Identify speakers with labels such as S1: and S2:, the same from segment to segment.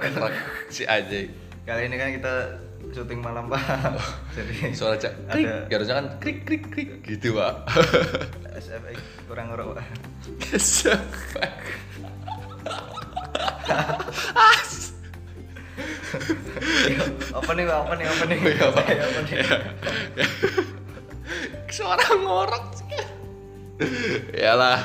S1: serak Ah. si anjing.
S2: Kali ini kan kita syuting malam pak, jadi
S1: Suara cak krik,
S2: ada
S1: harusnya kan krik krik krik gitu, Pak.
S2: SFX kurang ngorok pak. Yo, Apa nih pak? Apa nih? Apa nih?
S1: Oh iya, Pak.
S2: Ayo, Apa nih?
S1: Suara ngorok sih. Yalah.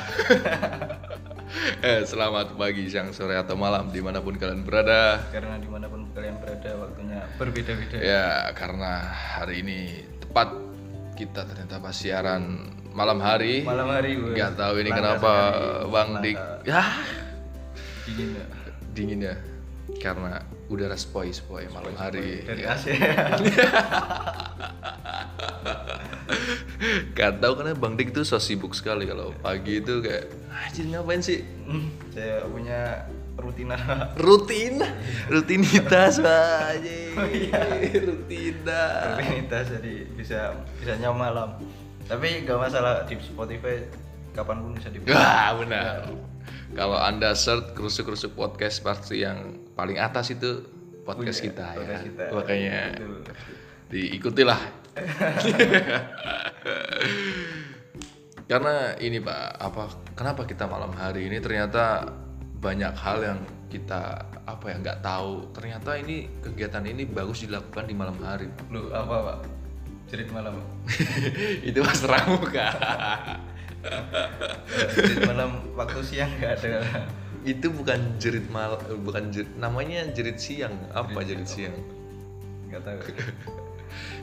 S1: eh, selamat pagi, siang, sore, atau malam dimanapun kalian berada.
S2: Karena dimanapun kalian berada waktunya berbeda-beda.
S1: Ya, karena hari ini tepat kita ternyata pas siaran malam hari.
S2: Malam hari gue.
S1: Nggak tahu ini
S2: Langka
S1: kenapa
S2: sekali.
S1: Bang
S2: Langka.
S1: Dik. Ya,
S2: Dingin ya.
S1: dingin ya. Karena udara spoi-spoi malam hari.
S2: Dari
S1: Ya.
S2: AC.
S1: Gak tahu karena Bang Dik tuh so sibuk sekali kalau pagi itu kayak anjir ngapain sih?
S2: Hmm, Saya punya rutinan Pak.
S1: Rutin. Rutinitas Pak, anjing.
S2: Oh, iya.
S1: Rutinitas.
S2: rutinitas jadi bisa bisanya malam. Tapi nggak masalah di Spotify kapanpun bisa dibuka.
S1: Wah, benar.
S2: Iya.
S1: Kalau Anda search kerusuk-kerusuk podcast pasti yang paling atas itu podcast
S2: Punya,
S1: kita
S2: podcast
S1: ya.
S2: kita.
S1: Makanya
S2: Betul.
S1: diikutilah. Karena ini Pak, apa kenapa kita malam hari ini ternyata banyak hal yang kita apa ya nggak tahu. Ternyata ini kegiatan ini bagus dilakukan di malam hari. Pak.
S2: Lu apa pak? Jerit malam. Pak.
S1: itu Mas Pramuka.
S2: Eh, Jerit malam waktu siang nggak ada.
S1: itu bukan jerit mal eh, bukan jerit, namanya jerit siang apa jerit, siang
S2: Nggak tahu.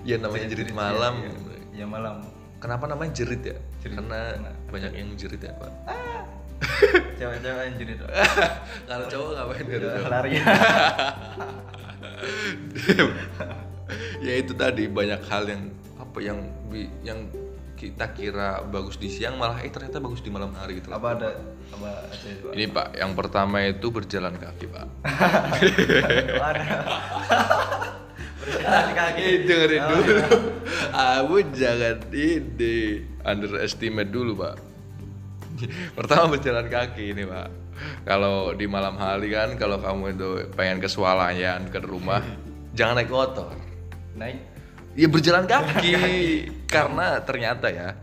S1: ya namanya jerit, malam
S2: Ya malam.
S1: kenapa namanya jerit ya
S2: Jerit.
S1: karena
S2: Karena-
S1: banyak yang jerit ya pak
S2: Cewek-cewek yang jerit. Pak.
S1: kalau cowok ngapain dari
S2: Ya,
S1: cowok?
S2: Lari.
S1: ya itu tadi banyak hal yang apa yang bi- yang kita kira bagus di siang malah eh ternyata bagus di malam hari gitu
S2: apa ada apa aja pak?
S1: ini pak yang pertama itu berjalan kaki pak
S2: Ada. Berjalan kaki.
S1: Eh, dengerin
S2: Oh,
S1: dulu. Kamu jangan ini underestimate dulu, Pak. Pertama berjalan kaki ini, Pak. Kalau di malam hari kan kalau kamu itu pengen ke swalayan, ke rumah, jangan naik motor.
S2: Naik.
S1: Ya berjalan kaki karena ternyata ya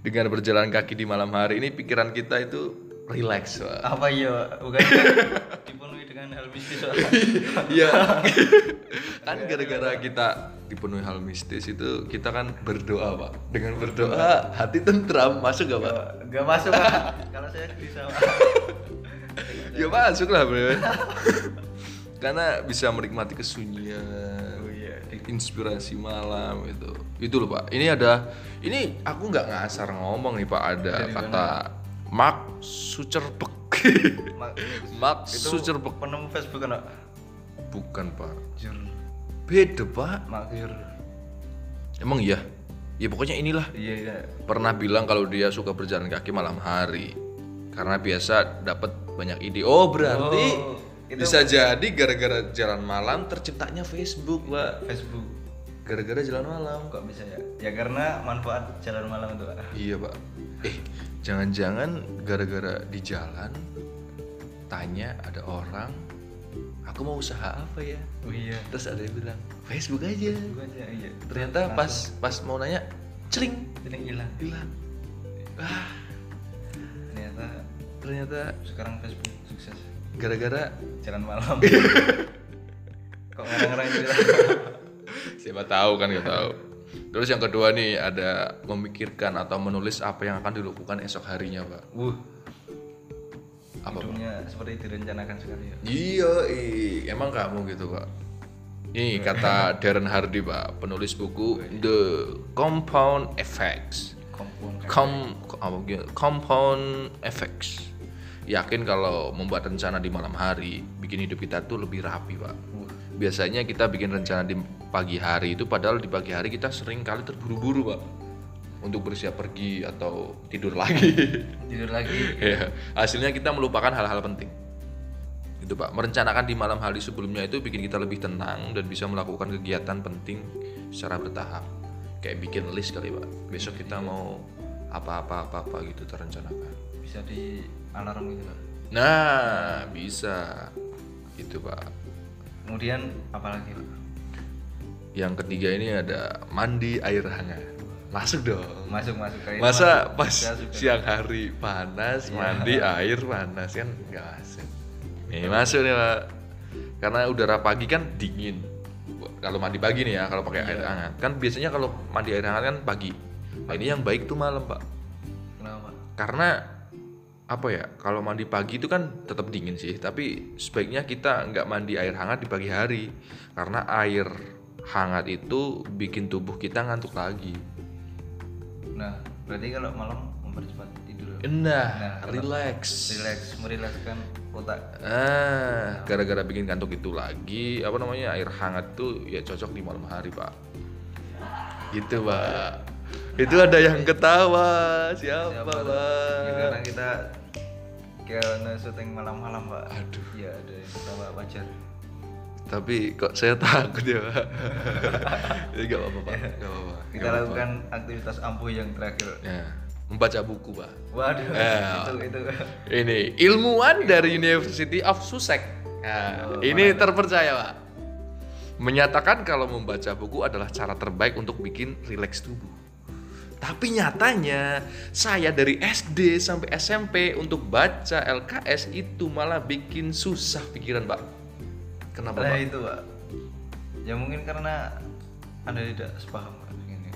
S1: dengan berjalan kaki di malam hari ini pikiran kita itu relax, Pak.
S2: Apa ya? Bukan dipenuhi dengan hal mistis Pak.
S1: Iya. kan gara-gara kita dipenuhi hal mistis itu kita kan berdoa pak. Dengan berdoa hati tentram masuk gak pak?
S2: Nggak- Nggak masuk pak. Kalau saya bisa pak.
S1: Ya masuk lah bro. Karena bisa menikmati kesunyian,
S2: Oh iya. di-
S1: inspirasi malam itu. Itu loh pak. Ini ada, ini aku nggak ngasar ngomong nih pak ada
S2: Dari
S1: kata Mark Zuckerberg.
S2: ma-
S1: Mark
S2: Itu
S1: Zuckerberg
S2: penemu Facebook kan pak?
S1: bukan pak.
S2: Jur.
S1: Beda pak.
S2: Makir.
S1: Emang iya? Ya pokoknya inilah
S2: Iya iya.
S1: pernah bilang kalau dia suka berjalan kaki malam hari karena biasa dapat banyak ide. Oh berarti
S2: Oh, itu-
S1: bisa jadi gara-gara jalan malam terciptanya Facebook, Pak.
S2: Facebook.
S1: Gara-gara jalan malam.
S2: Kok bisa ya? Ya karena manfaat jalan malam itu pak.
S1: Iya Pak. Eh jangan-jangan gara-gara di jalan tanya ada orang, aku mau usaha apa ya?
S2: Oh iya.
S1: Terus ada yang bilang Facebook aja.
S2: Gua aja iya.
S1: Ternyata pas pas mau nanya, cering
S2: Ini hilang.
S1: hilang. Ah,
S2: Ternyata
S1: ternyata
S2: sekarang Facebook sukses.
S1: gara-gara
S2: Jalan malam. Kok ngarang-ngarang gitu?
S1: siapa tahu kan nggak tahu terus yang kedua nih ada memikirkan atau menulis apa yang akan dilakukan esok harinya pak
S2: Wuh,
S1: apa pak
S2: hidupnya seperti direncanakan sekali ya.
S1: iya i- emang kamu gitu pak ini kata Darren Hardy pak penulis buku The Compound Effects
S2: Kompon.
S1: Com apa gitu, Compound Effects yakin kalau membuat rencana di malam hari bikin hidup kita tuh lebih rapi pak
S2: Wuh,
S1: biasanya kita bikin rencana di pagi hari itu padahal di pagi hari kita sering kali terburu-buru pak untuk bersiap pergi atau tidur lagi
S2: tidur lagi.
S1: ya hasilnya kita melupakan hal-hal penting itu pak merencanakan di malam hari sebelumnya itu bikin kita lebih tenang dan bisa melakukan kegiatan penting secara bertahap kayak bikin list kali pak besok kita mau apa-apa apa-apa gitu terencanakan
S2: Bisa di alarm gitu lah.
S1: nah bisa itu pak
S2: kemudian apalagi Pak?
S1: Yang ketiga ini ada mandi air hangat. Masuk dong.
S2: masuk masuk kayak
S1: Masa
S2: masuk.
S1: pas
S2: Saya Iya, suka.
S1: siang hari panas,
S2: Iya.
S1: mandi air panas kan nggak masuk.
S2: Iya.
S1: Nih masuk nih pak. Karena udara pagi kan dingin. Kalau mandi pagi nih ya, kalau pakai
S2: Iya.
S1: air hangat kan biasanya kalau mandi air hangat kan pagi. Nah, ini yang baik tuh malam pak.
S2: kenapa
S1: karena apa ya kalau mandi pagi itu kan tetap dingin sih tapi sebaiknya kita nggak mandi air hangat di pagi hari karena air hangat itu bikin tubuh kita ngantuk lagi
S2: nah berarti kalau malam mempercepat tidur
S1: nah,
S2: kalau
S1: relax
S2: relax merilekskan otak
S1: ah gara-gara bikin ngantuk itu lagi apa namanya air hangat tuh ya cocok di malam hari pak itu pak itu ada yang ketawa Iya. siapa
S2: Siapa tuh? Ya,
S1: pak
S2: karena kita karena syuting malam-malam pak
S1: Aduh.
S2: ya ada yang ketawa wajar
S1: tapi kok saya takut ya pak ya nggak apa-apa pak nggak apa-apa
S2: kita
S1: nggak apa-apa.
S2: lakukan aktivitas ampuh yang terakhir
S1: ya membaca buku pak
S2: waduh
S1: Ya.
S2: itu itu
S1: ini ilmuwan dari University of Sussex nah,
S2: Oh,
S1: ini terpercaya pak menyatakan kalau membaca buku adalah cara terbaik untuk bikin rileks tubuh tapi nyatanya saya dari SD sampai SMP untuk baca LKS itu malah bikin susah pikiran pak kenapa
S2: nah
S1: pak
S2: itu pak ya mungkin karena anda tidak sepaham pak dengan ini.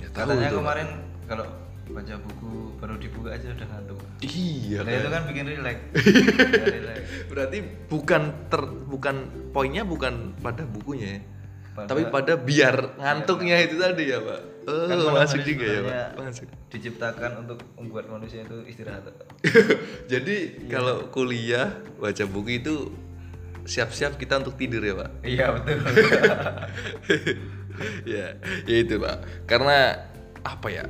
S1: Nggak Ya, tahu
S2: katanya
S1: itu, Pak.
S2: kemarin kalau baca buku baru dibuka aja udah ngantuk Pak.
S1: iya
S2: nah
S1: kan.
S2: itu kan bikin rileks Ya, rileks.
S1: Berarti bukan ter bukan poinnya bukan pada bukunya ya.
S2: Pada- Iya,
S1: Tapi pada biar ngantuknya itu tadi ya, Pak. Oh,
S2: Kan malam
S1: masuk
S2: hari
S1: juga ya, Pak.
S2: sebenarnya
S1: Masuk.
S2: diciptakan untuk membuat manusia itu istirahat Pak. Iya.
S1: Jadi kalau kuliah baca buku itu siap-siap kita untuk tidur ya, Pak.
S2: iya betul
S1: ya, ya itu, Pak. Karena apa ya?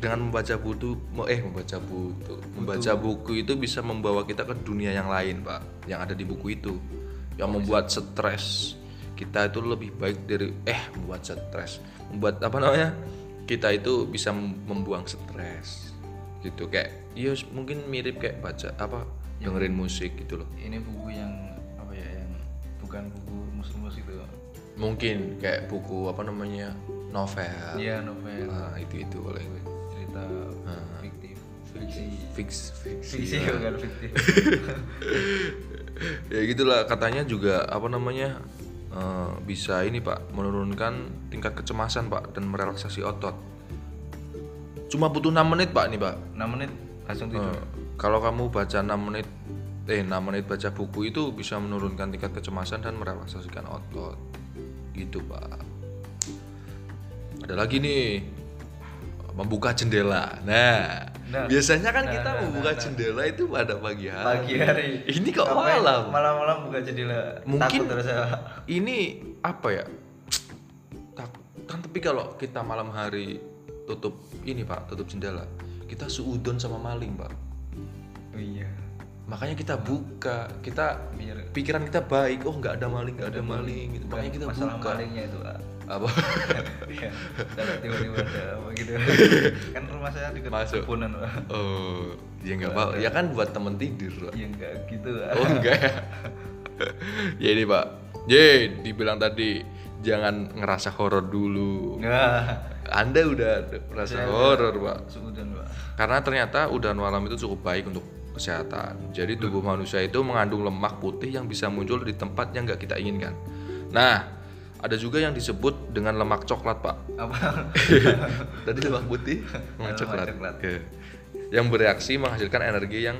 S1: Dengan membaca buku eh membaca buku, membaca buku itu bisa membawa kita ke dunia yang lain, Pak. Yang ada di buku itu yang membuat stres kita itu lebih baik dari eh membuat stres, membuat apa namanya? Kita itu bisa mem- membuang stres. Gitu kayak ya mungkin mirip kayak baca apa dengerin musik gitu loh.
S2: ini buku yang apa ya yang bukan buku muslimus gitu
S1: Mungkin kayak buku apa namanya? novel.
S2: iya novel
S1: Nah, itu itu oleh gue.
S2: cerita fiktif fiksi
S1: fix fix
S2: fiksi bukan fiktif
S1: ya gitulah katanya juga apa namanya eh, bisa ini pak menurunkan tingkat kecemasan pak dan merelaksasi otot cuma butuh 6 menit pak nih pak
S2: 6 menit langsung tidur
S1: Eh, kalau kamu baca 6 menit eh 6 menit baca buku itu bisa menurunkan tingkat kecemasan dan merelaksasikan otot gitu pak ada lagi nih membuka jendela nah,
S2: Nah.
S1: biasanya kan
S2: Nah,
S1: kita
S2: nah, nah,
S1: membuka
S2: nah.
S1: jendela itu pada pagi hari
S2: pagi hari ya?
S1: ini kok
S2: Ngapain
S1: malam
S2: malam-malam buka jendela
S1: Mungkin-
S2: takut terasa
S1: ini apa ya Tak- kan tapi kalau kita malam hari tutup ini pak tutup jendela kita suudon sama maling pak
S2: oh, iya
S1: makanya kita buka kita
S2: biar
S1: pikiran kita baik oh nggak ada maling nggak ada maling gitu. makanya kita
S2: masalah
S1: buka
S2: malingnya itu Pak.
S1: apa
S2: Iya, kalau tiba-tiba ada apa gitu kan rumah saya dekat
S1: Masuk.
S2: kepunan Pak.
S1: oh ya nggak apa ya kan buat temen tidur Pak.
S2: ya enggak gitu Pak.
S1: oh enggak ya ya ini pak ye dibilang tadi jangan ngerasa horor dulu
S2: nah
S1: anda udah merasa
S2: Saya udah-
S1: horor pak
S2: suudan Pak.
S1: Karena ternyata udan malam itu cukup baik untuk kesehatan. Jadi tubuh manusia itu mengandung lemak putih yang bisa muncul di tempat yang nggak kita inginkan. Nah, ada juga yang disebut dengan lemak coklat, Pak.
S2: apa
S1: Tadi lemak putih, lemak
S2: Lemak
S1: coklat.
S2: coklat.
S1: Oke. Yang bereaksi menghasilkan energi yang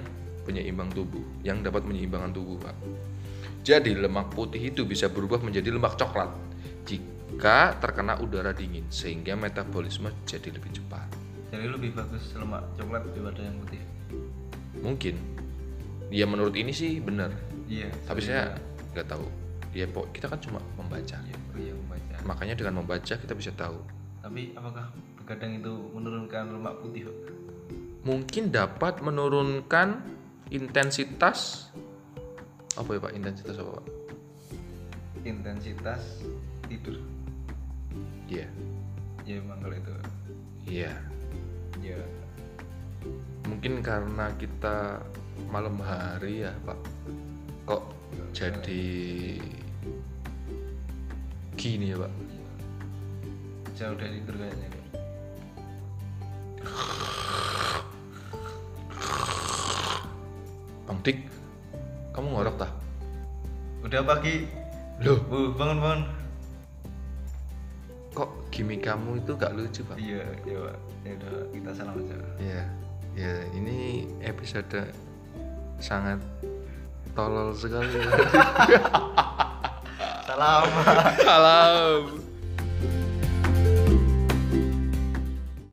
S1: penyeimbang tubuh, yang dapat menyeimbangkan tubuh, Pak. Jadi lemak putih itu bisa berubah menjadi lemak coklat jika terkena udara dingin sehingga metabolisme jadi lebih cepat.
S2: Jadi lebih bagus lemak coklat daripada yang putih.
S1: Mungkin. Ya menurut ini sih benar.
S2: Iya.
S1: Tapi saya nggak tahu. Ya pok- kita kan cuma membaca.
S2: Iya, oh iya membaca.
S1: Makanya dengan membaca kita bisa tahu.
S2: Tapi apakah begadang itu menurunkan lemak putih? Pak?
S1: Mungkin dapat menurunkan intensitas apa ya Pak? Intensitas apa Pak?
S2: Intensitas tidur.
S1: Iya.
S2: Ya emang kalau itu.
S1: Iya.
S2: Ya.
S1: Mungkin karena kita malam hari ya Pak. Kok jadi rugi nih ya pak
S2: iya. jauh dari tidur kayaknya
S1: bang dik kamu ngorok tah
S2: udah pagi
S1: loh
S2: bu bangun bangun
S1: kok gimmick kamu itu gak lucu pak
S2: iya iya pak ya udah Pak. kita salam aja
S1: ya ya ini episode sangat tolol sekali
S2: salam
S1: salam